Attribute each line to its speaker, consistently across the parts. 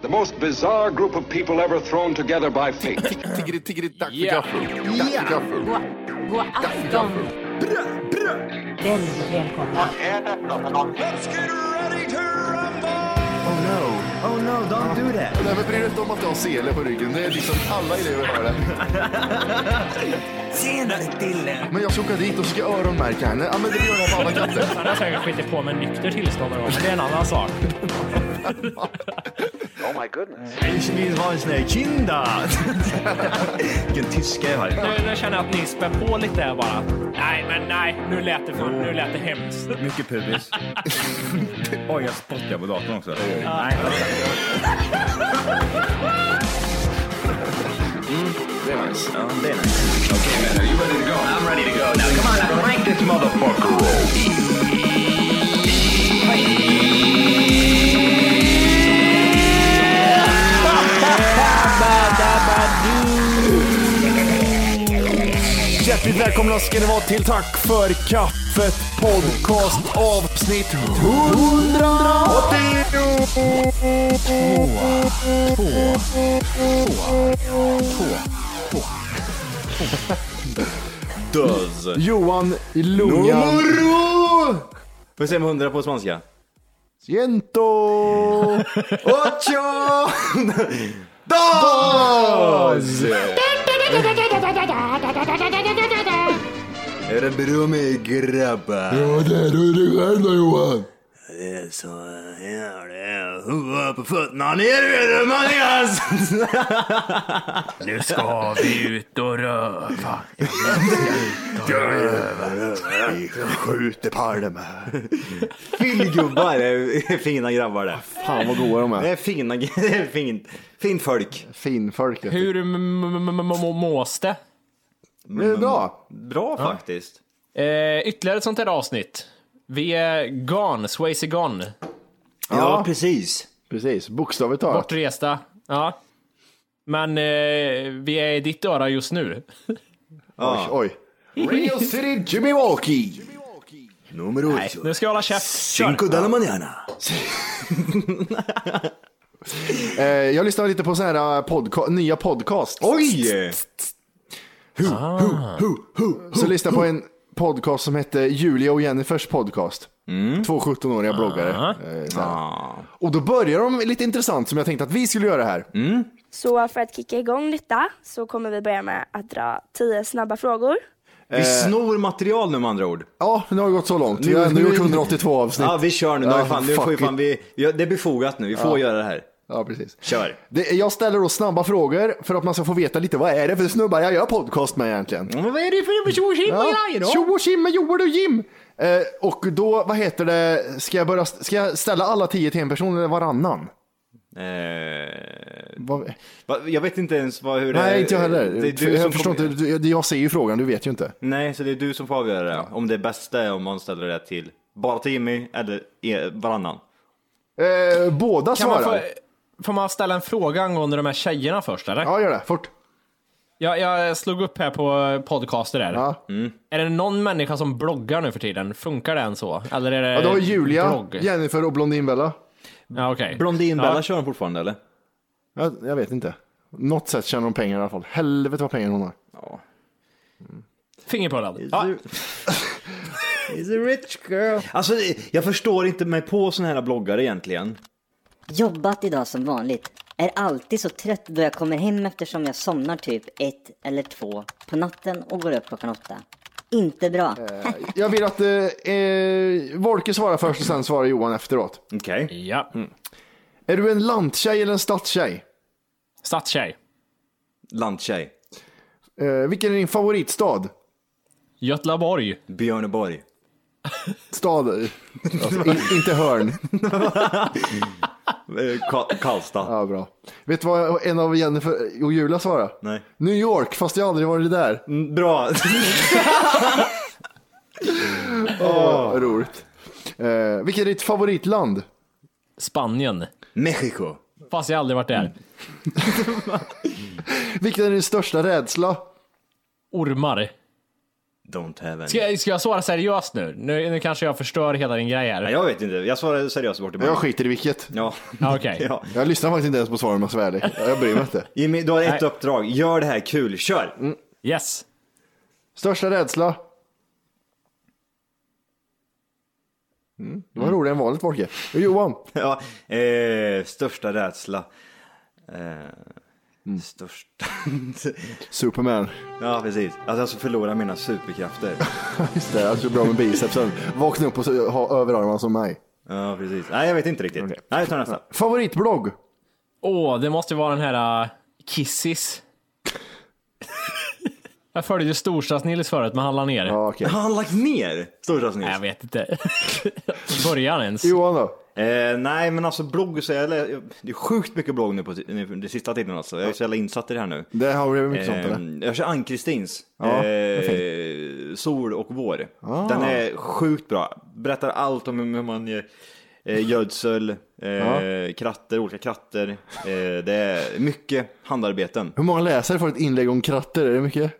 Speaker 1: The most bizarre group of people ever thrown together by fate.
Speaker 2: Tiggeri, tiggeri, dack för
Speaker 3: Ja.
Speaker 2: gaffel. Dack för gaffel.
Speaker 4: God, god afton. Väldigt välkomna.
Speaker 2: Oh no.
Speaker 5: Oh no, don't do that.
Speaker 2: Nej, men bryr dig inte om att du har sele på ryggen. Det är liksom alla elever har det.
Speaker 5: Senare Dille.
Speaker 2: Men jag ska åka dit och ska öronmärka henne. Ja, men det gör jag på alla katter.
Speaker 3: Han har säkert skitit på med nykter tillstånd någon gång, men det är en annan sak.
Speaker 5: Ich vill ha en sån här kinda. Vilken tyska jag har.
Speaker 3: Nu, nu känner jag att ni spär på lite här bara. Nej, men nej, nu lät det, fan, nu lät det hemskt.
Speaker 6: Mycket pubis. Oj, jag spottar på datorn också. Nej.
Speaker 2: Det är nice.
Speaker 6: Ja, det är nice.
Speaker 7: Hjärtligt välkomna ska ni vara till Tack för kaffet podcast avsnitt 180!
Speaker 6: Döz.
Speaker 7: Johan i lungan.
Speaker 2: Numero!
Speaker 6: Får vi se med hundra på spanska?
Speaker 7: Siento!
Speaker 6: Ocho!
Speaker 7: Dos!
Speaker 6: Är det bra med grabbar?
Speaker 7: Ja, det är du dig själv då Johan.
Speaker 6: Det är så här det är. Huvudet på fötterna, ner i huvudet Mattias! Nu ska vi ut och röva.
Speaker 7: Vi skjuter palmer.
Speaker 6: Fyllgubbar är är fina grabbar det.
Speaker 7: Fan vad goa de
Speaker 6: Det
Speaker 7: är.
Speaker 6: är fina, det är fint, fint folk.
Speaker 7: Finfolk. vet du.
Speaker 3: Hur m- m- m- m- mås det?
Speaker 7: Det är bra.
Speaker 6: Bra faktiskt.
Speaker 3: Eh, ytterligare ett sånt här avsnitt. Vi är gone, Swayze gone.
Speaker 6: Ja, precis.
Speaker 7: Precis, bokstavligt talat.
Speaker 3: Bortresta. Ja. Men eh, vi är i ditt öra just nu.
Speaker 7: Oj, oj. Radio City Jimmy Walkie.
Speaker 6: Nummer ocho.
Speaker 3: Nu ska jag hålla käft. Kör.
Speaker 6: de la mañana.
Speaker 7: Eh, jag lyssnar lite på så här eh, podca- nya podcast.
Speaker 6: Oj!
Speaker 7: Ah. Så lyssnade jag på en podcast som hette Julia och Jennifers podcast.
Speaker 6: Mm.
Speaker 7: Två 17-åriga
Speaker 6: Ah.
Speaker 7: bloggare. Eh, så här. Och då börjar de lite intressant som jag tänkte att vi skulle göra här.
Speaker 6: Mm.
Speaker 8: Så för att kicka igång detta så kommer vi börja med att dra 10 snabba frågor.
Speaker 7: Eh.
Speaker 6: Vi snor material nu med andra ord.
Speaker 7: Ja, nu har det gått så långt. Vi har ändå gjort 182 avsnitt.
Speaker 6: Ja, vi kör nu. nu, har vi fan, nu
Speaker 7: fuck
Speaker 6: får vi fan,
Speaker 7: it.
Speaker 6: vi, ja, det är befogat nu. Vi får göra det här.
Speaker 7: Ja, precis.
Speaker 6: Kör.
Speaker 7: Det, jag ställer då snabba frågor för att man ska få veta lite vad är det för snubbar jag gör podcast med egentligen.
Speaker 6: Men Mm. vad är det för tjochim
Speaker 7: Ja. Tjo och tjim med Joel och Jim. Eh, och då, vad heter det, ska jag, börja, ska jag ställa alla tio till en person eller varannan?
Speaker 6: Eh,
Speaker 7: Vad,
Speaker 6: va- jag vet inte ens vad, hur det
Speaker 7: nej, inte jag heller.
Speaker 6: Det är du som
Speaker 7: jag förstår
Speaker 6: kommer-
Speaker 7: inte, du, jag ser ju frågan, du vet ju inte.
Speaker 6: Nej, så det är du som får avgöra det. Om det bästa är om man ställer det till bara till Jimmy eller er- varannan.
Speaker 7: Eh, båda
Speaker 3: Kan
Speaker 7: svarar.
Speaker 3: man få, får man ställa en fråga angående de här tjejerna först eller?
Speaker 7: Ja, gör det. Fort.
Speaker 3: Jag, jag slog upp här på podcaster där.
Speaker 7: Ja.
Speaker 3: Är det någon människa som bloggar nu för tiden? Funkar det än så? Eller är det
Speaker 7: Ja, då har Julia,
Speaker 3: blogg?
Speaker 7: Jennifer och Blondinbella.
Speaker 3: Ja, okej.
Speaker 6: Blondinbella
Speaker 3: Ja.
Speaker 6: kör hon fortfarande eller?
Speaker 7: Jag, jag vet inte. Något sätt tjänar hon pengar i alla fall. Helvete vad pengar hon har.
Speaker 3: Fingerpullad. Ja.
Speaker 6: He's a rich girl. Alltså, jag förstår inte mig på såna här bloggare egentligen.
Speaker 9: Jobbat idag som vanligt. Är alltid så trött då jag kommer hem eftersom jag somnar typ ett eller två på natten och går upp klockan åtta. Inte bra.
Speaker 7: Jag vill att eh, eh, Volke svarar först och sen svarar Johan efteråt.
Speaker 6: Okej.
Speaker 3: ja.
Speaker 7: Är du en lanttjej eller en stadstjej?
Speaker 3: Stadstjej.
Speaker 6: Lanttjej.
Speaker 7: Eh, vilken är din favoritstad?
Speaker 3: Göteborg.
Speaker 6: Björneborg.
Speaker 7: Stad? eh, Alltså, in, inte hörn.
Speaker 6: Eh, Ka- Karlstad.
Speaker 7: Ja, bra. Vet du vad en av Jennifer och Julia svarar?
Speaker 6: Nej.
Speaker 7: New York, fast jag aldrig varit där.
Speaker 6: Mm, Bra.
Speaker 7: Vad Roligt. Eh, vilket är ditt favoritland?
Speaker 3: Spanien.
Speaker 6: Mexiko.
Speaker 3: Fast jag aldrig varit där.
Speaker 7: Vilken är din största rädsla?
Speaker 3: Ormar.
Speaker 6: Don't have any.
Speaker 3: Ska, ska jag svara seriöst nu? nu? Nu kanske jag förstör hela din grej här.
Speaker 6: Ja, jag vet inte, jag svarade seriöst bort i början.
Speaker 10: Jag skiter i vilket.
Speaker 6: Ja.
Speaker 3: Ja, okej.
Speaker 6: ja.
Speaker 10: Jag lyssnar faktiskt inte ens på svaren om jag ska vara ärlig. Jag bryr mig inte.
Speaker 6: Jimmy, du har ett
Speaker 3: Nej.
Speaker 6: uppdrag. Gör det här kul, kör!
Speaker 3: Yes.
Speaker 10: Största rädsla? Mm, det var roligare än vanligt Folke. Johan,
Speaker 6: Ja, eh, största rädsla. Eh, Största...
Speaker 10: Superman.
Speaker 6: ja, precis. Att jag ska förlora mina superkrafter.
Speaker 10: Just det, alltså bra med bicepsen. Vakna upp och så- ha överarmarna som mig.
Speaker 6: Ja, precis. Nej, jag vet inte riktigt. Nej, vi tar nästa.
Speaker 10: Favoritblogg?
Speaker 3: Åh, det måste ju vara den här uh, Kissis. jag följde ju Storstadsnillis förut, men han la ner.
Speaker 10: Ja, okej.
Speaker 6: Har han lagt ner
Speaker 3: Nej,
Speaker 6: Storstadsnytt?
Speaker 3: jag vet inte. Början ens.
Speaker 10: Johan då?
Speaker 6: Eh, nej, men alltså blogg så jag, lä- det är sjukt mycket blogg nu på t- nu- den sista tiden alltså. Jag är så jävla insatt i det här nu.
Speaker 10: Det har blivit mycket sånt eller?
Speaker 6: Eh, jag kör Ann-Kristins
Speaker 10: Ja, Ah.
Speaker 6: eh, Sol och vår. Den är sjukt bra. Berättar allt om hur man gör eh, gödsel, eh, kratter, olika kratter. Eh, det är mycket handarbeten.
Speaker 10: Hur många läsare får ett inlägg om kratter? Är det mycket?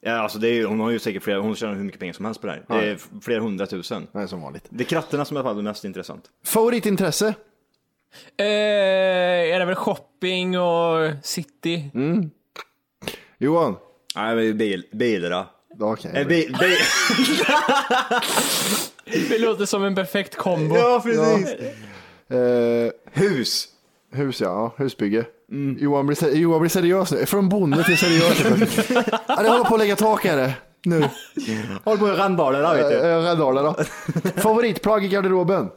Speaker 6: Ja, alltså det är, ju- hon har ju säkert flera, hon tjänar hur mycket pengar som helst på det här. Det är f- flera hundratusen.
Speaker 10: Nej, som vanligt.
Speaker 6: Det är kratterna som i alla fall är mest intressant.
Speaker 10: Favoritintresse?
Speaker 3: Eh, är det väl shopping och city?
Speaker 10: Mm. Johan?
Speaker 6: Nej, men bil, bilarna.
Speaker 10: Okej.
Speaker 6: Eh, bi, bi,
Speaker 3: Det låter som en perfekt kombo.
Speaker 6: ja, precis.
Speaker 10: Eh,
Speaker 6: Hus.
Speaker 10: hus ja, ja, husbygge. Johan, blir, se- Johan blir seriös nu. Från bonde till seriös. ja, det håller på att lägga tak här det. nu.
Speaker 6: Håll på med randbalerna vet du.
Speaker 10: Äh, Radaler då. Favoritplagg i garderoben?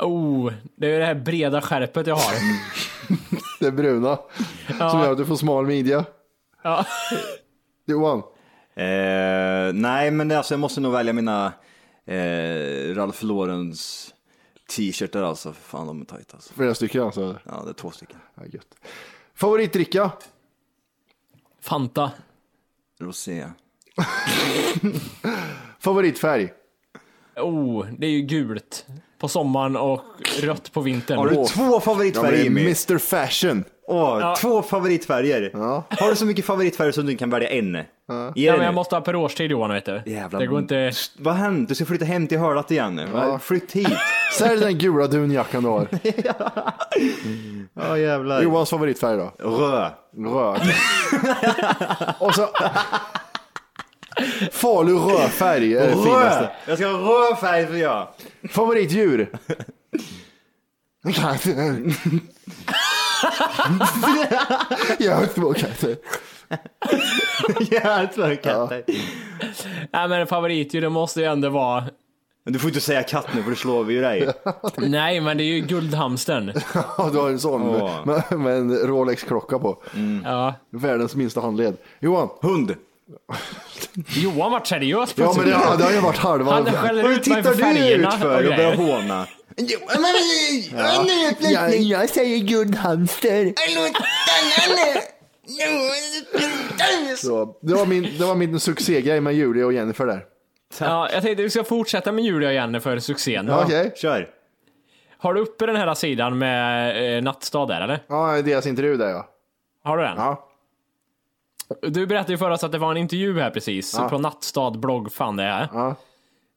Speaker 3: Oh, det är ju det här breda skärpet jag har.
Speaker 10: Det bruna. Mm. Som gör att du får smal midja.
Speaker 3: Ja.
Speaker 10: Johan?
Speaker 6: Eh, nej, men det, alltså, jag måste nog välja mina eh, Ralph Laurens t-shirtar alltså. För fan, de är tajta alltså.
Speaker 10: Flera stycken alltså.
Speaker 6: Ja, det är två stycken.
Speaker 10: Ja, gött. Favoritdricka?
Speaker 3: Fanta.
Speaker 6: Rosé.
Speaker 10: Favoritfärg?
Speaker 3: Oh, det är ju gult på sommaren och rött på vintern.
Speaker 6: Har du
Speaker 10: Åh.
Speaker 6: två
Speaker 10: Ja, men
Speaker 6: favoritfärger
Speaker 10: det är
Speaker 6: Jimmy?
Speaker 10: Mr Fashion.
Speaker 6: Åh, Två favoritfärger. Har du så mycket favoritfärger som du kan välja en? Ge
Speaker 3: Ja,
Speaker 6: dig
Speaker 3: men jag
Speaker 6: nu.
Speaker 3: måste ha per årstid Johan vet du.
Speaker 6: Jävla-
Speaker 3: Det går inte...
Speaker 6: Vad hänt? Du ska flytta hem till Hörlat igen nu. Va? Flytt hit.
Speaker 10: Sälj den gula dunjackan du har.
Speaker 6: Ja jävlar.
Speaker 10: Johans favoritfärg då?
Speaker 6: Rö.
Speaker 10: Röd. Och så... Falu rödfärg är det
Speaker 6: Rö!
Speaker 10: finaste.
Speaker 6: Jag ska ha röd färg för jag.
Speaker 10: Favoritdjur? Jag har två katter.
Speaker 6: Jävlar katter.
Speaker 3: Nej men favoritdjur det måste ju ändå vara...
Speaker 6: Men du får inte säga katt nu för då slår vi ju dig.
Speaker 3: Nej men det är ju guldhamstern.
Speaker 10: Ja, du har en sån
Speaker 6: Åh.
Speaker 10: med, med en Rolex-klocka på.
Speaker 3: Ja.
Speaker 10: Världens minsta handled. Johan?
Speaker 6: Hund.
Speaker 3: Johan vart seriös
Speaker 10: Ja, men det, har- det har ju varit halva.
Speaker 3: Han skäller
Speaker 6: Vad
Speaker 3: ut mig för
Speaker 6: tittar du
Speaker 3: färgerna.
Speaker 6: ut för och
Speaker 3: Okej.
Speaker 6: börjar håna?
Speaker 10: jag, jag säger guldhamster. Så, det, var min, det var min succégrej med Julia och Jennifer där.
Speaker 3: Ja, jag tänkte vi ska fortsätta med Julia och Jenny för succén.
Speaker 10: Okej.
Speaker 6: Kör.
Speaker 3: Har du uppe den här sidan med eh, Nattstad där eller?
Speaker 10: Ja, deras intervju där ja.
Speaker 3: Har du den?
Speaker 10: Ja.
Speaker 3: Du berättade ju för oss att det var en intervju här precis, på Nattstad blogg, fan det är.
Speaker 10: Ja.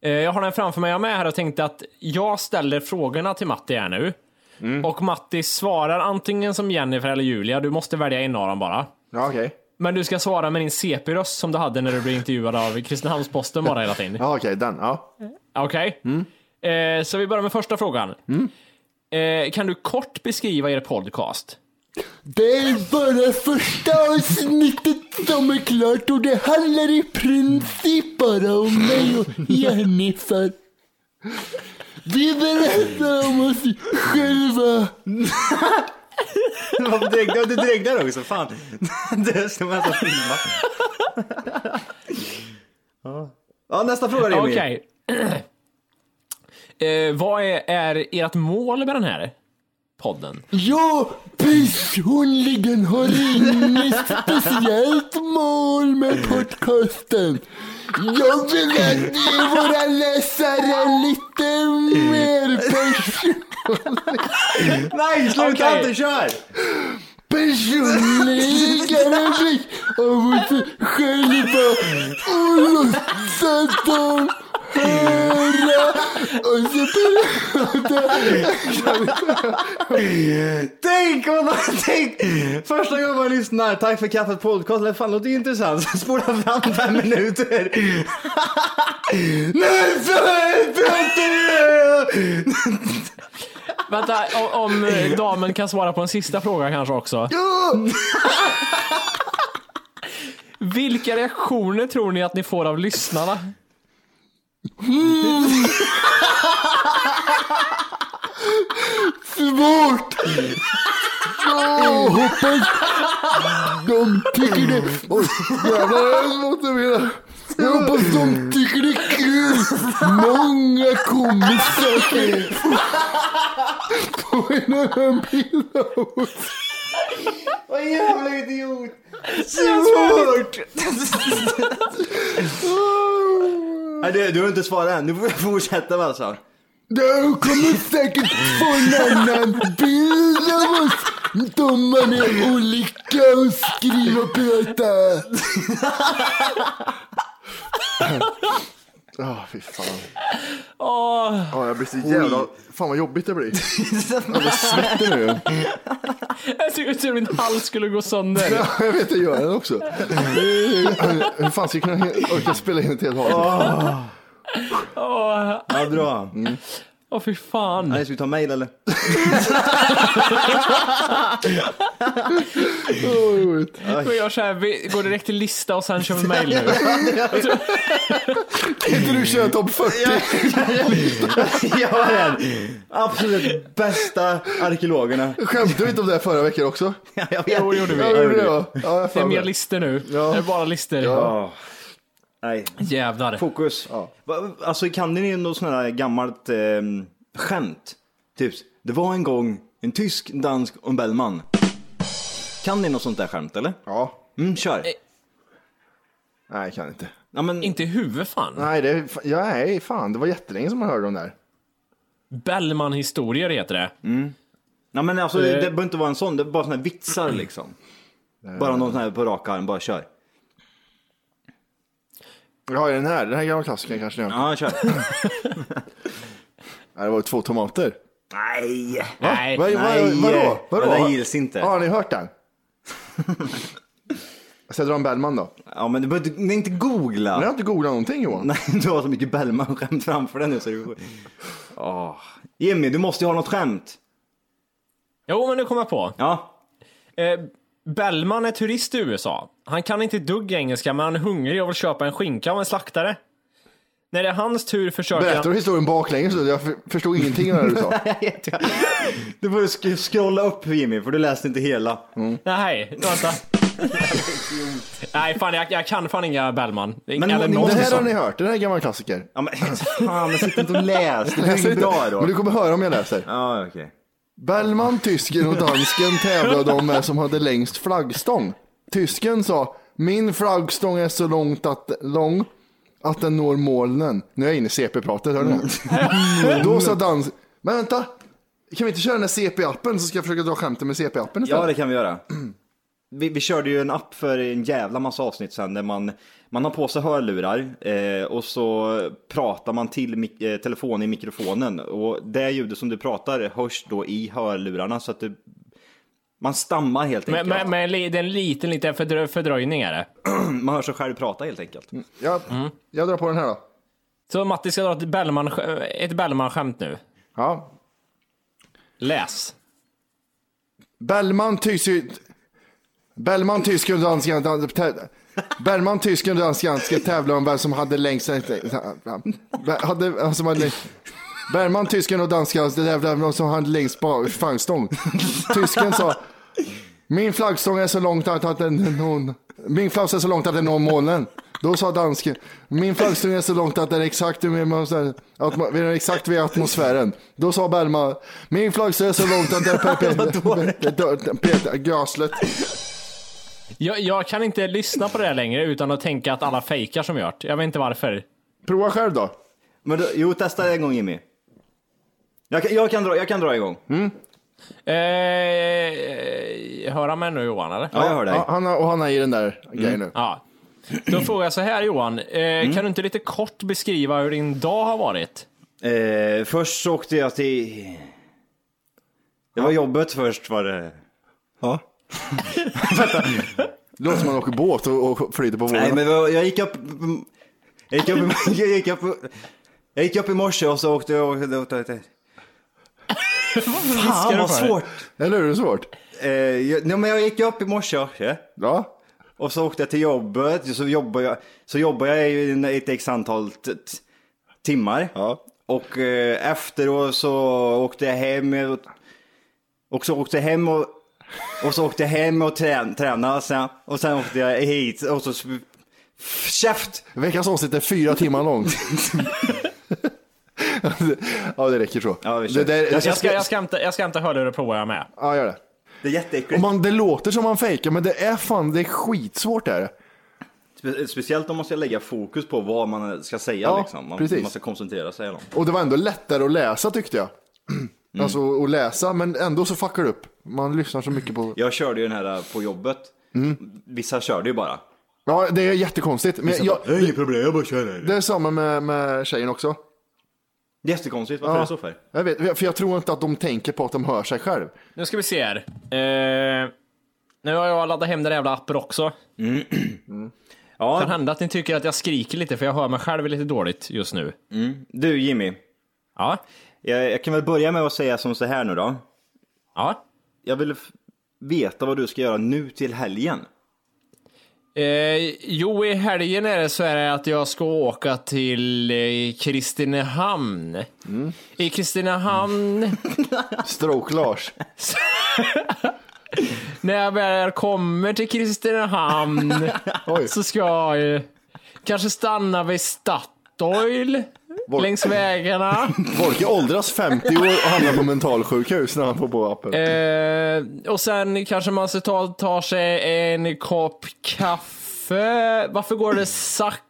Speaker 3: Eh, Jag har den framför mig, jag är med här och tänkte att jag ställer frågorna till Matti här nu.
Speaker 10: Mm.
Speaker 3: Och Matti svarar antingen som Jennifer eller Julia, du måste välja en av dem bara.
Speaker 10: Ja, okej.
Speaker 3: Men du ska svara med din CP-röst som du hade när du blev intervjuad av Kristinehamns-Posten bara hela tiden.
Speaker 10: Ja, okej, den. Ja. Mm.
Speaker 3: Okej? Eh, så vi börjar med första frågan. Eh, kan du kort beskriva er podcast?
Speaker 10: Det är bara första avsnittet som är klart och det handlar i princip bara om mig och Jennifer. Vi berättar om oss själva.
Speaker 6: Varför dregnar- Du dregnar också, fan. Det ska man alltså nästan filma. Ja. Ja, nästa fråga Jimmy.
Speaker 3: Okej. eh, vad är, är ert mål med den här podden?
Speaker 10: Jag personligen har inget speciellt mål med podcasten. Jag vill att ge våra läsare lite mer pers-
Speaker 6: Nej, sluta
Speaker 3: Okej.
Speaker 6: inte, kör!
Speaker 10: personligare blick av oss själva och låtsas som höra. Och så
Speaker 6: Tänk om man, tänk! Första gången man lyssnar, tack för kaffet podcast, det fan låter ju intressant. Så spolar fram fem minuter. Nu är det
Speaker 3: Vänta, o- om eh, damen kan svara på en sista fråga kanske också. Vilka reaktioner tror ni att ni får av lyssnarna?
Speaker 10: svårt. Jag hoppas de tycker det. Oj, jävlar jag måste mera. Jag hoppas de tycker det är kul. Många kompisar. På en annan bild av oss.
Speaker 6: Vad jävla idiot! Svårt! Nej, du, du har inte svarat än, du får fortsätta med alltså.
Speaker 10: De kommer säkert få en annan bild av oss. De man är olika och skriver och pratar.
Speaker 7: Ah, fy fan.
Speaker 3: Åh,
Speaker 7: Ja, jag blir så jävla... Fan vad jobbigt det blir. Jag blir svettig nu.
Speaker 3: jag såg ut som min hals skulle gå sönder.
Speaker 7: Ja, jag vet, inte, jag gör den också. Hur fan ska jag kunna orka spela in ett helt avsnitt?
Speaker 6: Ja, bra. Mm.
Speaker 3: Åh fy fan.
Speaker 6: Nej, ska vi ta mail eller?
Speaker 3: Vi gör så här, vi går direkt till lista och sen kör vi mail nu.
Speaker 7: Kan inte du köra topp 40?
Speaker 6: Jag var den absolut bästa arkeologerna.
Speaker 7: Skämtade vi inte om det här förra veckan också?
Speaker 6: Jag vet.
Speaker 3: Jo, det gjorde
Speaker 7: Ja, vi
Speaker 3: vi.
Speaker 7: gjorde det ja. ja jag
Speaker 3: Det är
Speaker 7: fan
Speaker 3: mer
Speaker 7: det.
Speaker 3: listor nu.
Speaker 7: Ja.
Speaker 3: Det är bara listor.
Speaker 6: Ja. Nej,
Speaker 3: Jävlar.
Speaker 6: fokus. Va- Alltså kan ni något sånt här gammalt eh, skämt? Typ, det var en gång en tysk, en dansk och en bellman. Kan ni något sånt där skämt eller?
Speaker 7: Ja.
Speaker 6: Mm, kör.
Speaker 7: Nej, kan inte.
Speaker 6: Ja, men,
Speaker 3: Inte i huvudet fan.
Speaker 7: Nej, det är, ja, nej, fan. Det var jättelänge som man hörde om det här.
Speaker 3: Bellman-historier heter det.
Speaker 6: ja, men alltså,
Speaker 7: Eh.
Speaker 6: det behöver inte vara en sån, det är bara såna här vitsar
Speaker 7: Mm.
Speaker 6: liksom. Bara någon sån här på rak arm, bara kör.
Speaker 7: Ja, den här. Den här gamla klassikern kanske ni har.
Speaker 6: Ja, kör.
Speaker 7: Nej, det var ju två tomater.
Speaker 6: Nej!
Speaker 3: Nej.
Speaker 7: Vad- vad-
Speaker 6: Nej.
Speaker 7: Vadå? Vadå?
Speaker 6: Den där gills inte.
Speaker 7: Ja, har ni hört den? Ska jag dra en Bellman då?
Speaker 6: Ja, men du behöver inte- nej, inte googla.
Speaker 7: Men jag har inte googlat någonting Johan.
Speaker 6: Nej, du har så mycket Bellman-skämt framför dig nu så du...
Speaker 7: Ah.
Speaker 6: Åh. Jimmy, du måste ju ha något skämt.
Speaker 3: Jo, men nu kommer jag på.
Speaker 6: Ja.
Speaker 3: Eh, Bellman är turist i USA. Han kan inte ett dugg engelska, men han är hungrig och vill köpa en skinka av en slaktare. När det är hans tur försöker
Speaker 7: Berättar
Speaker 3: han...
Speaker 7: du historien baklänges? så Jag för- förstod ingenting av det du sa.
Speaker 6: Du får sk- scrolla upp Jimmy, för du läste inte hela.
Speaker 7: Mm.
Speaker 3: Nej, vänta. Nej, fan jag, jag kan fan inga Bellman.
Speaker 6: Men
Speaker 3: Eller
Speaker 6: ni-
Speaker 3: någon
Speaker 7: Det
Speaker 6: måste-
Speaker 7: här
Speaker 3: sån.
Speaker 7: har ni hört. Den här är en gammal klassiker.
Speaker 6: Ja, men fan, jag sitter inte och läser. Det är
Speaker 7: Läser
Speaker 6: inget
Speaker 7: inte.
Speaker 6: bra
Speaker 7: Men
Speaker 6: då.
Speaker 7: du kommer höra om jag läser.
Speaker 6: Ja, okej.
Speaker 7: Bellman, tysken och dansken tävlade om vem som hade längst flaggstång. Tysken sa, min flaggstång är så långt att, lång att den når molnen. Nu är jag inne i CP-pratet, hör ni det? Då sa dans... Men vänta! Kan vi inte köra den här CP-appen så ska jag försöka dra skämten med CP-appen
Speaker 6: Ja,
Speaker 7: istället?
Speaker 6: det kan vi göra. Vi, vi körde ju en app för en jävla massa avsnitt sen där man, man har på sig hörlurar eh, och så pratar man till mik- eh, telefonen i mikrofonen och det ljudet som du pratar hörs då i hörlurarna så att du, man stammar helt
Speaker 3: Men,
Speaker 6: enkelt.
Speaker 3: men, men li- det är en liten, liten fördrö- fördröjning är det.
Speaker 6: Man hör sig själv prata helt enkelt.
Speaker 7: Jag, jag drar på den här då.
Speaker 3: Så Matti ska dra ett Bellman, ett Bellman-skämt nu.
Speaker 7: Ja.
Speaker 3: Läs.
Speaker 7: Bellman, tysken... Bellman, tysken och dansken... Dan, tä- Bellman, tysken och dansken ska tävla om vem som hade längst... Hade, vem som hade längst Bellman, tysken och dansken ska tävla om vem som hade längst ba- flaggstång. Tysken sa... Min flaggstång är så långt att, att den når... Min flaggstång är så långt att den når molnen. Då sa dansken, min flaggstång är så långt att den är exakt vid, atmo- atmo- den är exakt vid atmosfären. Då sa Bellman, min flaggstång är så långt att den är perpendikulär. Gaslet.
Speaker 3: Jag, jag kan inte lyssna på det här längre utan att tänka att alla fejkar som jag gjort. Jag vet inte varför.
Speaker 7: Prova själv då.
Speaker 6: Men då, jo, testa en gång Jimmy. Mm. Jag kan, jag kan, dra, jag kan dra igång.
Speaker 3: Eh, Hör han mig nu Johan eller?
Speaker 6: Ja, jag hör dig.
Speaker 7: Ja, han har, och han har i den där
Speaker 6: Mm.
Speaker 7: grejen nu.
Speaker 3: Ja. Då frågar jag så här Johan, eh, kan du inte lite kort beskriva hur din dag har varit?
Speaker 6: Eh, först så åkte jag till... Det var jobbet först var det.
Speaker 7: Ja. Det låter som man åker båt och, och flyter på
Speaker 6: Nej
Speaker 7: vågorna.
Speaker 6: men jag gick upp... Jag gick upp, jag gick upp, jag gick upp i morse och så åkte jag... Fan vad svårt!
Speaker 7: Eller hur? Det är svårt.
Speaker 6: Eh, jag, nej, men jag gick upp i morse ja.
Speaker 7: Ja.
Speaker 6: och så åkte jag till jobbet. Så jobbar jag, så jobbar jag i en- ett x antal t- t- timmar.
Speaker 7: Ja.
Speaker 6: Och eh, efteråt så åkte jag hem. Och, och så åkte jag hem och, och så åkte jag hem och trän, tränade. Sen, och sen åkte jag hit och så... sp- f- Käft!
Speaker 7: Veckans avsnitt är fyra timmar långt. ja, det räcker så.
Speaker 6: Ja, vi
Speaker 7: det
Speaker 6: kör.
Speaker 7: där,
Speaker 6: Jag
Speaker 3: Jag ska, jag ska, hämta, jag ska hämta hörlurar och prova jag med.
Speaker 7: Ja, gör det.
Speaker 6: Det är jätteäckligt.
Speaker 7: Och man, det låter som man fejkar, men det är fan, det är skitsvårt där.
Speaker 6: Spe- Speciellt om man ska lägga fokus på vad man ska säga
Speaker 7: Ja,
Speaker 6: liksom. Man,
Speaker 7: precis.
Speaker 6: man ska koncentrera sig. Eller? något.
Speaker 7: Och det var ändå lättare att läsa tyckte jag. Alltså att läsa, men ändå så fuckar det upp. Man lyssnar så mycket på...
Speaker 6: Jag körde ju den här eh, på jobbet.
Speaker 7: Mm.
Speaker 6: Vissa körde ju bara.
Speaker 7: Ja, det är jättekonstigt. Men jag,
Speaker 6: Det är inget problem, jag bara kör här.
Speaker 7: det är samma med, med tjejen också.
Speaker 6: Jättekonstigt, varför är det så för?
Speaker 7: Jag vet, för jag tror inte att de tänker på att de hör sig själv.
Speaker 3: Nu ska vi se här. Eh, nu har jag laddat hem den jävla appen också. Kan
Speaker 6: Ja,
Speaker 3: hända att ni tycker att jag skriker lite för jag hör mig själv lite dåligt just nu.
Speaker 6: du Jimmy.
Speaker 3: Ja,
Speaker 6: Jag, jag kan väl börja med att säga som så här nu då.
Speaker 3: ja.
Speaker 6: Jag vill f- veta vad du ska göra nu till helgen.
Speaker 3: Eh, jo, i helgen är det så här att jag ska åka till eh, Kristinehamn. I Kristinehamn,
Speaker 7: Stroke-Lars.
Speaker 3: när jag väl kommer till Kristinehamn
Speaker 7: Oj.
Speaker 3: så ska jag ju kanske stanna vid Statoil längs vägarna.
Speaker 7: Folke åldras 50 år och hamnar på mentalsjukhus när han får på appen.
Speaker 3: Eh, och sen kanske man så tar, tar sig en kopp kaffe. Varför går det sakta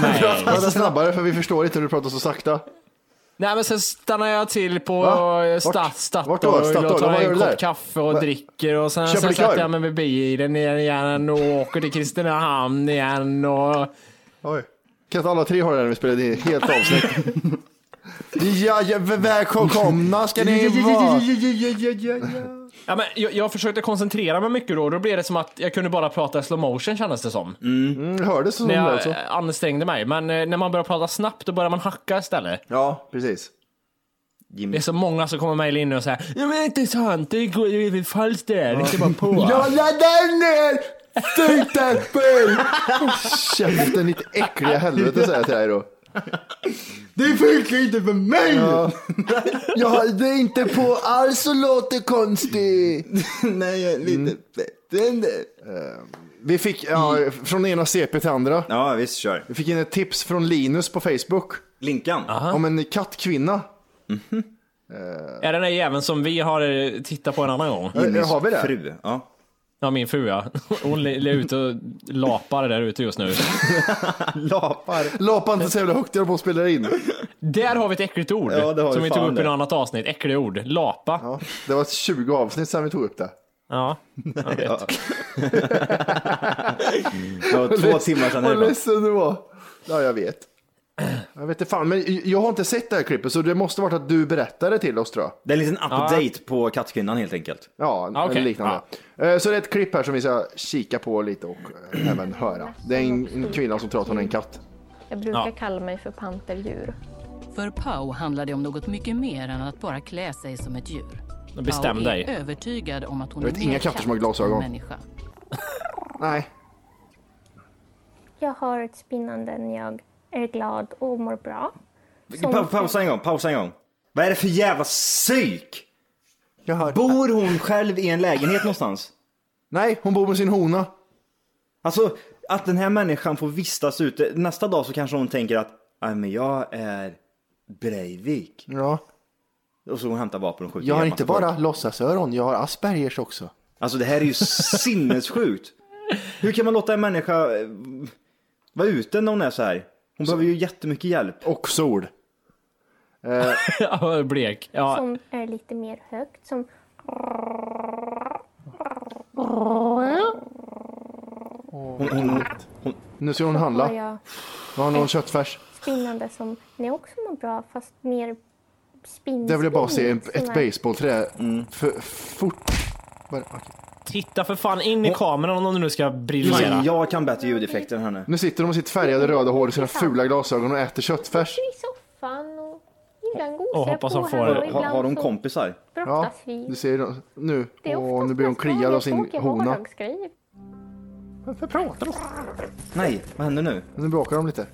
Speaker 3: mig?
Speaker 7: Prata snabbare för vi förstår inte hur du pratar så sakta.
Speaker 3: Nej men sen stannar jag till på
Speaker 7: Va? Vart?
Speaker 3: sta-
Speaker 7: Vart då?
Speaker 3: Statoil
Speaker 7: Statoil?
Speaker 3: och tar
Speaker 7: Vad gör
Speaker 3: en
Speaker 7: du
Speaker 3: kopp
Speaker 7: där?
Speaker 3: kaffe och
Speaker 7: Va?
Speaker 3: dricker och sen,
Speaker 7: Köper
Speaker 3: sen
Speaker 7: likör?
Speaker 3: sätter jag mig vid bilen igen och åker till Kristinehamn igen och
Speaker 7: Oj. Kan inte alla tre ha det här när vi spelade in helt avsnitt? ja, ja, välkomna ska ni vara.
Speaker 3: Ja, men jag, jag försökte koncentrera mig mycket då och då blev det som att jag kunde bara prata i slow motion kändes det som.
Speaker 7: Mm, hördes det som
Speaker 3: när
Speaker 7: det
Speaker 3: jag
Speaker 7: också?
Speaker 3: eh, ansträngde mig. Men eh, när man börjar prata snabbt då börjar man hacka istället.
Speaker 7: Ja, precis.
Speaker 3: Det är så många som kommer mejla in nu och säger Ja men det är inte sant, det går- det är falskt det där, det ska bara på.
Speaker 7: Jag laddar ner Sutapel! Käften ditt äckliga helvete säger jag till dig då.
Speaker 5: Det funkar inte för mig!
Speaker 7: Jag hade inte på alls och låter konstig.
Speaker 6: Nej, jag är lite bättre än det.
Speaker 7: Vi fick, ja, från ena CP till andra.
Speaker 6: Ja, visst, kör.
Speaker 7: Vi fick in ett tips från Linus på Facebook
Speaker 6: Linkan.
Speaker 7: om en kattkvinna.
Speaker 3: Är det den där jäveln som vi har eh, tittat på en annan gång?
Speaker 7: Äh, har vi det?
Speaker 6: Fru, ja.
Speaker 3: Ja, min fru ja. Hon är ute och lapar där ute just nu.
Speaker 6: Lapar.
Speaker 7: Lapa inte så jävla högt, jag håller på att spela in.
Speaker 3: Där har vi ett äckligt ord
Speaker 6: Ja, det har
Speaker 3: som
Speaker 6: vi
Speaker 3: vi tog
Speaker 6: fan
Speaker 3: upp i
Speaker 6: det.
Speaker 3: något annat avsnitt. Äckliga ord. Lapa. Ja.
Speaker 7: Ja, det var 20 avsnitt sedan vi tog upp det.
Speaker 3: jag vet.
Speaker 6: Det var två timmar sedan.
Speaker 7: Vad
Speaker 6: härifrån.
Speaker 7: ledsen du var. Ja, jag vet. Jag vet inte fan, men jag har inte sett det här klippet så det måste varit att du berättade till oss tror jag.
Speaker 6: Det är en liten update på kattkvinnan helt enkelt.
Speaker 7: Ja,
Speaker 3: Ah, okej.
Speaker 7: eller liknande. Eh, Så det är ett klipp här som vi ska kika på lite och eh, även höra. Det är en, en kvinna som tror att hon är en katt.
Speaker 11: Jag brukar
Speaker 3: Ja.
Speaker 11: kalla mig för panterdjur.
Speaker 12: För Pau handlar det om något mycket mer än att bara klä sig som ett djur.
Speaker 3: Bestäm
Speaker 12: Pau
Speaker 3: dig.
Speaker 12: är övertygad om att hon
Speaker 7: Jag vet
Speaker 12: är
Speaker 7: inga
Speaker 12: mer
Speaker 7: katter som har
Speaker 12: katt
Speaker 7: glasögon.
Speaker 12: än människa.
Speaker 7: Nej.
Speaker 11: Jag har ett spinnande när jag är glad och mår bra.
Speaker 6: Pa pausa en gång, pausa en gång. Vad är det för jävla psyk?
Speaker 7: Jag hör.
Speaker 6: Bor hon själv i en lägenhet någonstans?
Speaker 7: Nej, hon bor med sin hona.
Speaker 6: Alltså att den här människan får vistas ute. Nästa dag så kanske hon tänker att "Aj, men jag är Breivik.
Speaker 7: Ja.
Speaker 6: Och så hon hämtar vapen och skjuter
Speaker 7: Jag har
Speaker 6: ihjäl
Speaker 7: inte
Speaker 6: massa
Speaker 7: bara
Speaker 6: folk.
Speaker 7: låtsasöron, jag har Aspergers också.
Speaker 6: Alltså det här är ju sinnessjukt. Hur kan man låta en människa eh, vara ute när hon är så här? Hon behöver ju jättemycket hjälp.
Speaker 7: Och sol.
Speaker 3: Ja, blek. Ja.
Speaker 11: Som är lite mer högt. Som
Speaker 7: Hon, hon, hon, nu ska hon handla.
Speaker 11: Har jag
Speaker 7: Har någon köttfärs?
Speaker 11: spinnande som ni också mår bra fast mer spinnspinn.
Speaker 7: Det vill jag bara se en, ett
Speaker 11: som är-
Speaker 7: baseballträ. För, fort. Bara, okej.
Speaker 3: Titta för fan in i kameran om du nu ska briljera.
Speaker 6: Jag kan bättre ljudeffekter än henne.
Speaker 7: Nu sitter de med sitt färgade röda hår och sina fula glasögon och äter köttfärs.
Speaker 11: I soffan och ibland gosar
Speaker 7: Och hoppas
Speaker 11: jag
Speaker 7: hon
Speaker 11: på
Speaker 7: får-
Speaker 11: henne och
Speaker 7: Har-
Speaker 11: ibland
Speaker 7: har hon
Speaker 11: så
Speaker 6: kompisar?
Speaker 7: Ja,
Speaker 11: brottas vi.
Speaker 7: du ser dem. nu.
Speaker 11: Det är
Speaker 7: Åh,
Speaker 11: oftast
Speaker 7: nu blir hon kliad av sin
Speaker 11: tråkiga
Speaker 7: hona.
Speaker 11: vardagsgrejer.
Speaker 7: Varför pratar du?
Speaker 6: Nej, vad händer nu?
Speaker 7: Nu bråkar de lite.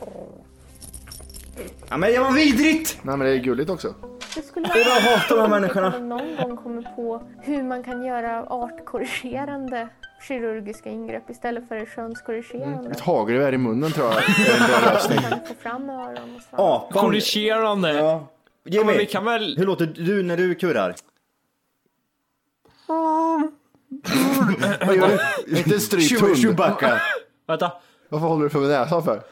Speaker 6: Ja, men det var vidrigt!
Speaker 7: Nej men det är gulligt också.
Speaker 11: Det skulle
Speaker 6: Det är vad jag hatar de här människorna.
Speaker 11: om de någon gång kommer på hur man kan göra artkorrigerande kirurgiska ingrepp istället för könskorrigerande.
Speaker 7: Ett hagelgevär i munnen tror jag är en bra lösning.
Speaker 11: Man får fram öron och svans.
Speaker 6: Apan.
Speaker 3: Korrigerande.
Speaker 6: Ja.
Speaker 3: Ja,
Speaker 6: Jimmy,
Speaker 3: men vi kan väl...
Speaker 6: hur låter du när du kurrar?
Speaker 7: Vad gör du? Inte en strypt
Speaker 6: Chew-
Speaker 7: hund.
Speaker 6: Chewbacca.
Speaker 3: Vänta.
Speaker 7: Varför håller du för näsan för?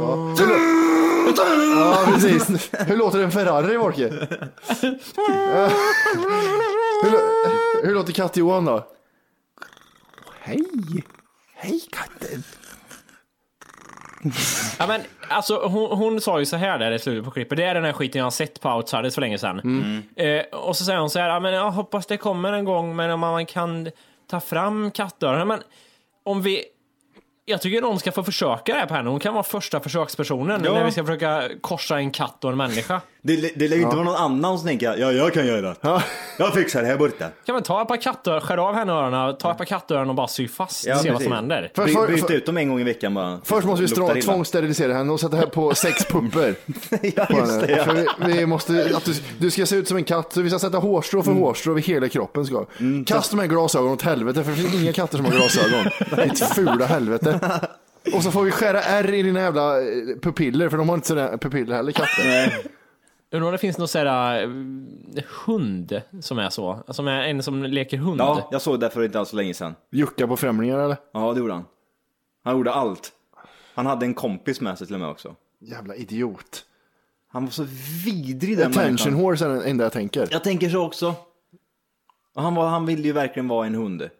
Speaker 7: Ja. ja precis. Hur låter en Ferrari Wolke? Ja. hur, lå- hur låter katt-Johan då? Hej! Hej katten!
Speaker 3: Ja, men, alltså, hon, hon sa ju så här där i slutet på klippet, det är den här skiten jag har sett på Outsiders för länge sedan.
Speaker 6: Mm.
Speaker 3: Eh, och så säger hon så här, ja, men jag hoppas det kommer en gång, men om man kan ta fram kattöronen. Men om vi... Jag tycker någon ska få försöka det här på henne. Hon kan vara första försökspersonen
Speaker 6: Ja.
Speaker 3: när vi ska försöka korsa en katt och en människa.
Speaker 6: Det, det lär ju inte vara någon annan som tänker ja, jag kan göra det. Jag fixar det här borta.
Speaker 3: Kan man ta ett par kattöron, skär av henne öronen, ta ett par kattöron och bara sy fast och se vad som händer.
Speaker 7: Först-
Speaker 6: By,
Speaker 7: för-
Speaker 6: byt
Speaker 7: för-
Speaker 6: ut dem en gång i veckan bara.
Speaker 7: Först måste vi
Speaker 6: Luktar
Speaker 7: strå-
Speaker 6: illa.
Speaker 7: tvångssterilisera henne och sätta här på sex pupper. på
Speaker 6: just
Speaker 7: henne.
Speaker 6: det, ja.
Speaker 7: För vi, vi måste, att du, du ska se ut som en katt, så vi ska sätta hårstrå
Speaker 6: Mm.
Speaker 7: för hårstrå vid hela kroppen. Ska. Kasta de här glasögonen åt helvete, för det finns inga katter som har glasögon. Ditt fula helvete. Och så får vi skära ärr i dina jävla eh, pupiller, för de har inte sådana pupiller heller, katter.
Speaker 3: Undrar om det finns någon sån här eh, hund som är så? Som är en som leker hund?
Speaker 6: Ja, jag såg det för inte alls så länge sedan.
Speaker 7: Jucka på främlingar eller?
Speaker 6: Ja, det gjorde han. Han gjorde allt. Han hade en kompis med sig till och med också.
Speaker 7: Jävla idiot.
Speaker 6: Han var så vidrig den
Speaker 7: Attention
Speaker 6: människan.
Speaker 7: horse är det enda jag tänker.
Speaker 6: Jag tänker så också. Och han, var, han ville ju verkligen vara en hund.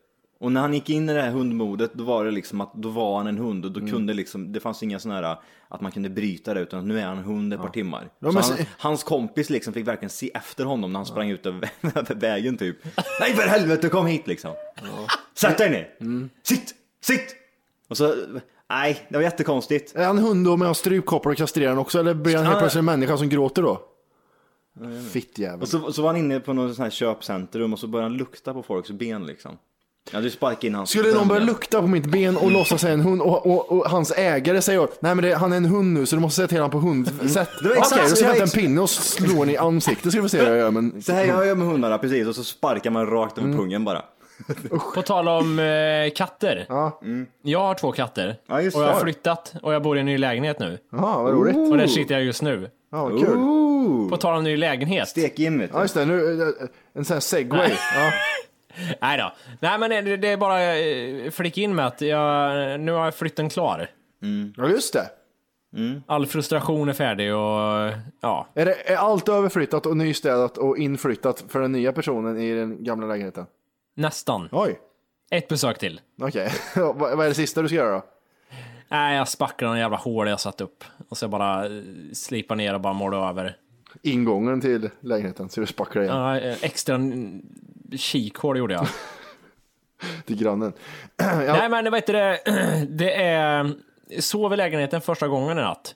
Speaker 6: Och när han gick in i det här hundmodet då var det liksom att då var han en hund och då
Speaker 7: Mm.
Speaker 6: kunde liksom, det fanns inga sådana här att man kunde bryta det utan att nu är han en hund ett par timmar.
Speaker 7: Ja,
Speaker 6: så
Speaker 7: men
Speaker 6: han,
Speaker 7: se-
Speaker 6: hans kompis liksom fick verkligen se efter honom när han sprang ut över, över vägen typ. Nej för helvete kom hit liksom. Sätt dig ner!
Speaker 7: Mm.
Speaker 6: Sitt! Sitt! Och så, nej det var jättekonstigt.
Speaker 7: Är han hund då, men har strypkoppar och kastrerar han också? Eller blir han helt
Speaker 6: Ja.
Speaker 7: plötsligt en människa som gråter då? Fittjävel.
Speaker 6: Och så, så var han inne på något sånt här köpcentrum och så började han lukta på folks ben liksom. Jag hade ju sparkat in hans
Speaker 7: Skulle någon börja
Speaker 6: ben.
Speaker 7: lukta på mitt ben och låtsas säga en hund och, och, och hans ägare säger åt, nej men det, han är en hund nu så du måste säga till honom på hundsätt.
Speaker 6: Det var
Speaker 7: Okej,
Speaker 6: exakt-
Speaker 7: då ska jag
Speaker 6: det var
Speaker 7: hämta en pinne och slå honom i ansiktet så ska vi se hur jag gör. Men...
Speaker 6: Så här jag gör med hundarna precis och så sparkar man rakt över pungen bara.
Speaker 3: På tal om eh, katter. Jag har två katter.
Speaker 6: Mm. just
Speaker 3: och jag har
Speaker 6: det.
Speaker 3: flyttat och jag bor i en ny lägenhet nu.
Speaker 7: Ja, vad roligt.
Speaker 3: Och där sitter jag just nu.
Speaker 7: Ja, vad kul.
Speaker 3: På tal om ny lägenhet.
Speaker 6: Stek-Jim vet
Speaker 7: Ja, just det. Nu, eh, en sån här segway. Ja.
Speaker 3: Nej då. Nej men det, det är bara eh, flick in med att jag, nu har flytten klar.
Speaker 7: ja, just det.
Speaker 3: All frustration är färdig och ja.
Speaker 7: Är, det. är allt överflyttat och nystädat och inflyttat för den nya personen i den gamla lägenheten?
Speaker 3: Nästan.
Speaker 7: Oj.
Speaker 3: Ett besök till.
Speaker 7: Okej. vad vad är det sista du ska göra då?
Speaker 3: Nej, jag spacklar någon jävla hål jag satt upp. Och så bara eh, slipar ner och bara målar över.
Speaker 7: Ingången till lägenheten, så du spacklar igen
Speaker 3: Ja, eh, extra mm, kikhål gjorde jag.
Speaker 7: till grannen.
Speaker 3: Nej men vet du det, det är, eh, sov i lägenheten första gången i natt.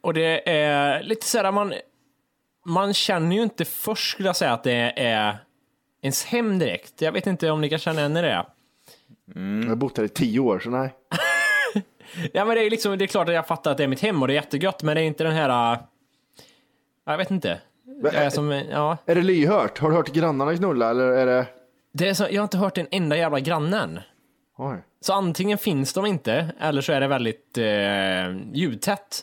Speaker 3: Och det är lite såhär, man, man känner ju inte först skulle jag säga att det är ens hem direkt. Jag vet inte om ni kan känna igen er i det.
Speaker 7: Jag har bott här i tio år, så nej.
Speaker 3: Ja men det är ju liksom, det är klart att jag fattar att det är mitt hem och det är jättegött, men det är inte den här, äh, jag vet inte. Jag är som, ja.
Speaker 7: Är det lyhört? Har du hört grannarna knulla eller är det?
Speaker 3: Det är så, jag har inte hört en enda jävla grannen.
Speaker 7: Oj.
Speaker 3: Så antingen finns de inte, eller så är det väldigt eh, ljudtätt.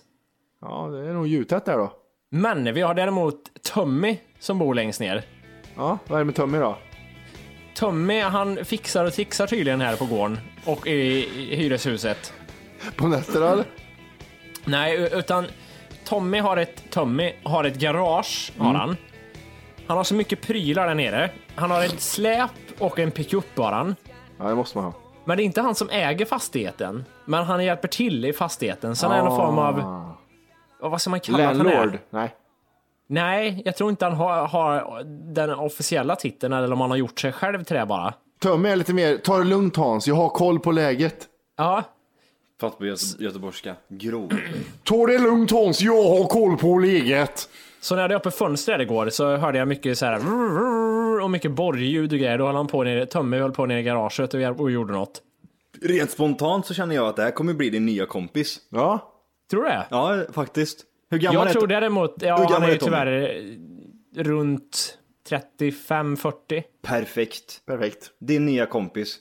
Speaker 7: Ja, det är nog ljudtätt där då.
Speaker 3: Men vi har däremot Tommy som bor längst ner.
Speaker 7: Ja, vad är det med Tommy då?
Speaker 3: Tommy han fixar och trixar tydligen här på gården och i, i hyreshuset.
Speaker 7: På nätterna eller?
Speaker 3: Nej, u- utan Tommy har ett, Tommy har ett garage, har
Speaker 7: Mm.
Speaker 3: han. Han har så mycket prylar där nere. Han har ett släp och en pickup bara. han.
Speaker 7: Ja, det måste man ha.
Speaker 3: Men det är inte han som äger fastigheten, men han hjälper till i fastigheten. Så han är någon form av,
Speaker 7: Ah.
Speaker 3: ja, vad ska man kalla att han är?
Speaker 7: Landlord? Nej.
Speaker 3: Nej, jag tror inte han har, har den officiella titeln eller om han har gjort sig själv till det bara.
Speaker 7: Tömme är lite mer, ta det lugnt Hans, jag har koll på läget.
Speaker 3: Ja,
Speaker 6: Fatt på göte- göteborgska. Grov.
Speaker 7: Ta det lugnt Hans, jag har koll på läget.
Speaker 3: Så när jag hade öppet fönstret igår så hörde jag mycket så här vrr, vrr, och mycket borrljud och grejer. Då höll han på nere, Tömme höll på nere i garaget och jag- och gjorde något.
Speaker 6: Rent spontant så känner jag att det här kommer bli din nya kompis.
Speaker 7: Ja.
Speaker 3: Tror du det?
Speaker 6: Ja, faktiskt. Hur gammal
Speaker 3: Jag
Speaker 6: är
Speaker 3: tror däremot,
Speaker 6: Hur
Speaker 3: ja han
Speaker 6: gammal
Speaker 3: är
Speaker 6: är
Speaker 3: ju
Speaker 6: Tommy?
Speaker 3: tyvärr eh, runt 35-40.
Speaker 6: Perfekt.
Speaker 7: Perfekt.
Speaker 6: Din nya kompis.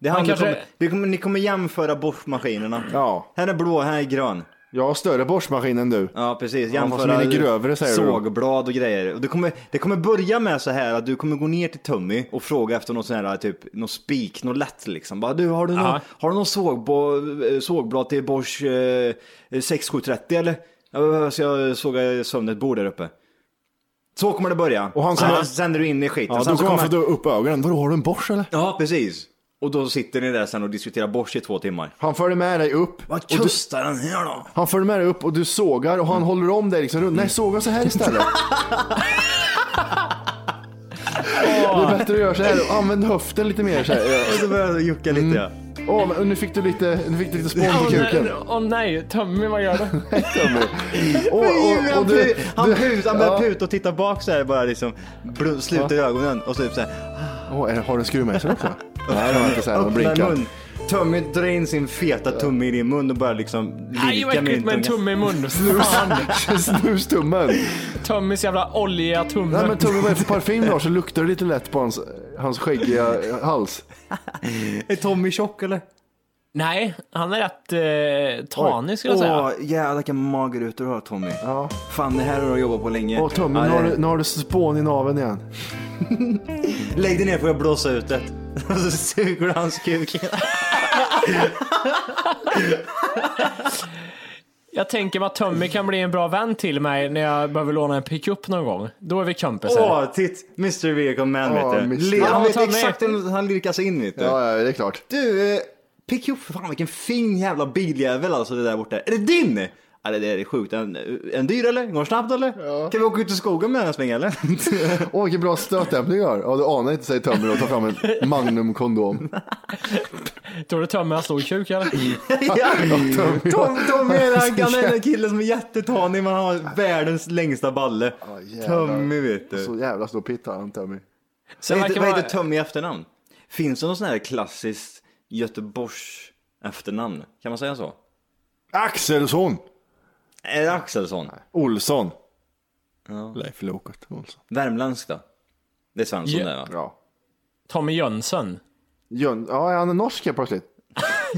Speaker 6: Det är
Speaker 3: Han
Speaker 6: han du
Speaker 3: kanske-
Speaker 6: kommer, du kommer, ni kommer jämföra borstmaskinerna.
Speaker 7: Ja.
Speaker 6: Här är blå, här är grön.
Speaker 7: Jag har större borstmaskin än du.
Speaker 6: Ja precis,
Speaker 7: Ja, fast
Speaker 6: jämföra
Speaker 7: min är grövre, säger du då.
Speaker 6: sågblad och grejer. Och det, kommer, det kommer börja med så här att du kommer gå ner till Tommy och fråga efter något sån här typ, någon spik, något lätt liksom. Bara, du, har du någon,
Speaker 3: Ja.
Speaker 6: har du någon sågbo- eh, sågblad till Bosch eh, 6730 eller? Jag ska såga sönder ett bord där uppe. Så kommer det börja.
Speaker 7: Och han
Speaker 6: sen,
Speaker 7: kommer-
Speaker 6: sen sänder du in i skiten.
Speaker 7: Ja,
Speaker 6: sen
Speaker 7: då
Speaker 6: så
Speaker 7: kommer
Speaker 6: kommer-
Speaker 7: han få dra upp ögonen. Vadå, har du en borst eller?
Speaker 6: Ja, precis. Och då sitter ni där sen och diskuterar Bosch i två timmar.
Speaker 7: Han följer med dig upp.
Speaker 6: Vad
Speaker 7: och du,
Speaker 6: kostar den här då?
Speaker 7: han följer med dig upp och du sågar och han håller om dig liksom runt. Nej, såga så här istället. Det är bättre att göra så här. och Använd höften lite mer så här.
Speaker 6: Och så börjar jag jucka
Speaker 7: Mm.
Speaker 6: lite. ja.
Speaker 7: Åh, men nu fick du lite, nu fick du lite spån på
Speaker 3: Åh
Speaker 7: kuken.
Speaker 3: nej, åh, nej, Tommy vad gör du?
Speaker 7: Tommy. Och, och, och
Speaker 6: han
Speaker 7: du,
Speaker 6: pu- han
Speaker 7: du-
Speaker 6: put- han börjar
Speaker 7: Ja.
Speaker 6: puta och titta bak så här bara liksom. Bl- sluter ögonen och så typ så här.
Speaker 7: Åh, är det- har du en skruvmejsel också? Nej, det har jag inte. Så här, de
Speaker 6: Öppnar
Speaker 7: blinkar.
Speaker 6: mun. Tommy drar in sin feta tumme i din mun och börjar liksom
Speaker 3: Nej vad
Speaker 6: lirka
Speaker 3: äckligt
Speaker 6: din
Speaker 3: med en
Speaker 6: tunga.
Speaker 3: tumme i munnen. Fan,
Speaker 7: Snustummen.
Speaker 3: Tömmes jävla oljiga tumme.
Speaker 7: Nej men Tommy, vad är det för parfym du har? Så luktar det lite lätt på hans, hans skäggiga hals.
Speaker 6: Är Tommy tjock eller?
Speaker 3: Nej, han är rätt eh, tanig skulle jag säga.
Speaker 6: Åh jävlar vilken mager ut du har Tommy.
Speaker 7: Ja.
Speaker 6: Fan det här har du jobbat på länge.
Speaker 7: Åh Tommy,
Speaker 6: Ja,
Speaker 7: nu har,
Speaker 6: det-
Speaker 7: du, nu har du spån i naveln igen.
Speaker 6: Lägg dig ner får jag blåsa ut det. Och så suger du hans kuk.
Speaker 3: Jag tänker mig att Tommy kan bli en bra vän till mig när jag behöver låna en pickup någon gång. Då är vi kompisar.
Speaker 6: Åh titt! Mr Vehicle
Speaker 7: Åh,
Speaker 6: Man vet du.
Speaker 7: Mr.
Speaker 6: Li- Han
Speaker 3: Ja,
Speaker 6: vet
Speaker 3: Tommy.
Speaker 6: exakt hur han lirkar sig in vet du.
Speaker 7: Ja, ja, det är klart.
Speaker 6: Du, eh, pick upp för fan vilken fin jävla biljävel alltså det där borta. Är det din? Ja det där är sjukt. En, en dyr eller? Går den snabbt eller? Kan vi åka ut i skogen med den en sväng eller?
Speaker 7: Åh vilken bra stötdämpning du har. Ja, du anar inte säger Tommy och tar fram en Magnum-kondom.
Speaker 3: Tror du Tommy har stor kuk eller?
Speaker 6: ja.
Speaker 7: Tommy.
Speaker 6: Tom, Tommy är den han är den killen som är jättetanig men han har världens längsta balle.
Speaker 7: jävlar.
Speaker 6: Tommy vet du.
Speaker 7: Så jävla stor pitt har han Tommy.
Speaker 3: Så
Speaker 6: Vad
Speaker 3: det verkar
Speaker 6: heter, vad
Speaker 3: vara-
Speaker 6: heter Tommy i efternamn? Finns det någon sån här klassiskt Göteborgs efternamn? Kan man säga så?
Speaker 7: Axelsson!
Speaker 6: Är det Axelsson?
Speaker 7: Olsson. Leif Loket Olsson.
Speaker 6: Värmländsk då? Det är Svensson
Speaker 3: Ja.
Speaker 6: det va?
Speaker 7: Ja.
Speaker 3: Tommy Jönsson.
Speaker 7: Jön, ja, är han är norsk helt plötsligt.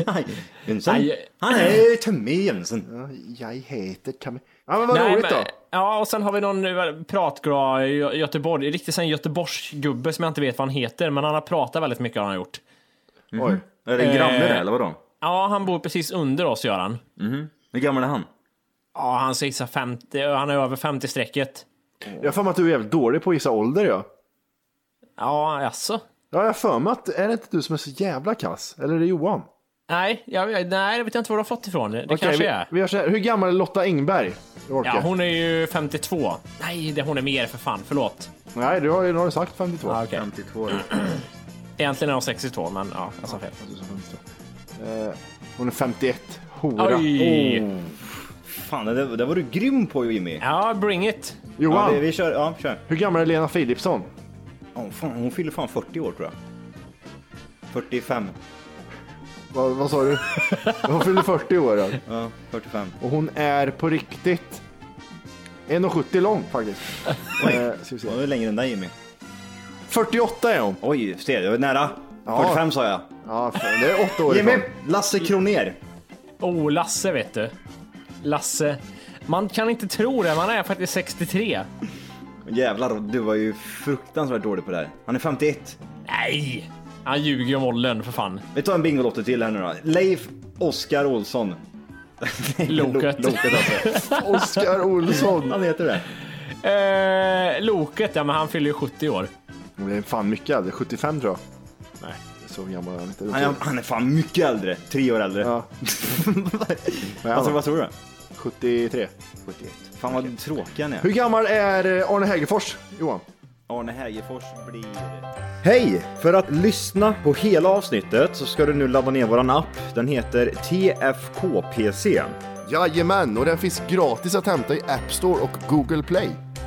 Speaker 6: Nej, Jönsson.
Speaker 3: Nej.
Speaker 6: Han är Tommy Jönsson.
Speaker 7: Ja, Jag heter Tommy. Ja men vad roligt
Speaker 3: men-
Speaker 7: då.
Speaker 3: Ja, och sen har vi någon eh, pratglad Gö- Göteborg, riktigt sån Göteborgsgubbe som jag inte vet vad han heter, men han har pratat väldigt mycket har han gjort.
Speaker 7: Oj.
Speaker 6: Är det en granne
Speaker 3: Eh.
Speaker 6: där eller vadå?
Speaker 3: Ja, han bor precis under oss, Göran.
Speaker 6: Hur gammal är han?
Speaker 3: Ja, han säger så här 50, han är över 50-strecket.
Speaker 7: Jag har för mig att du är jävligt dålig på att gissa ålder ja.
Speaker 3: Ja, alltså.
Speaker 7: Ja, jag har för mig att, är det inte du som är så jävla kass? Eller är det Johan?
Speaker 3: Nej, jag, jag- nej, det vet jag inte var du har fått ifrån. Det
Speaker 7: Okej,
Speaker 3: kanske
Speaker 7: vi,
Speaker 3: är.
Speaker 7: vi gör så här. Hur gammal är Lotta Engberg? Jag orkar.
Speaker 3: Ja, hon är ju 52. Nej, det, hon är mer för fan. Förlåt.
Speaker 7: Nej, du har ju nu har du sagt 52.
Speaker 3: Ja, okej.
Speaker 6: 52.
Speaker 3: Egentligen är hon 62, men ja, jag sa fel.
Speaker 7: Du sa 52. Eh, hon är 51. Hora.
Speaker 3: Oj!
Speaker 6: Fan, det, där- det var du grym på Jimmy.
Speaker 3: Ja, bring it!
Speaker 6: Ja,
Speaker 7: Johan,
Speaker 6: det, vi kör. Ja, kör.
Speaker 7: hur gammal är Lena Philipsson?
Speaker 6: Åh, fan, hon fyller fan 40 år tror jag. 45.
Speaker 7: Vad, vad sa du? Hon fyller 40 år. ja.
Speaker 6: Ja, 45.
Speaker 7: Och hon är på riktigt 1,70 lång faktiskt. Eh, ska vi
Speaker 6: Hon
Speaker 7: se.
Speaker 6: är längre än dig Jimmy.
Speaker 7: 48 är hon.
Speaker 6: Oj, ser du? Jag var nära.
Speaker 7: Ja.
Speaker 6: 45 sa jag.
Speaker 7: Ja, fan, det är 8 år
Speaker 6: Jimmy!
Speaker 7: ifrån.
Speaker 6: Lasse Kroner.
Speaker 3: Oh, Lasse vet du. Lasse. Man kan inte tro det, man är faktiskt 63.
Speaker 6: Jävlar, du var ju fruktansvärt dålig på det här. Han är 51.
Speaker 3: Nej! Han ljuger ju om åldern för fan.
Speaker 6: Vi tar en Bingolotto till här nu då. Leif Oskar Olsson. Nej,
Speaker 3: Loket.
Speaker 6: Lo- Loket alltså.
Speaker 7: Oskar Olsson.
Speaker 6: Han heter det.
Speaker 3: Eh, Loket, ja men han fyller ju 70 år.
Speaker 7: Det är fan mycket äldre. 75 tror jag. så gammal är han inte.
Speaker 6: Han, han är fan mycket äldre. Tre år äldre.
Speaker 7: är
Speaker 6: vad, tror-
Speaker 7: han?
Speaker 6: Alltså, vad tror du?
Speaker 7: 73.
Speaker 6: 71. Fan vad tråkig han är.
Speaker 7: Hur gammal är eh, Arne Hägerfors, Johan?
Speaker 6: Arne Hägerfors blir... Hej! För att lyssna på hela avsnittet så ska du nu ladda ner våran app. Den heter TFKPC.
Speaker 7: Jajamän, och den finns gratis att hämta i App Store och Google Play.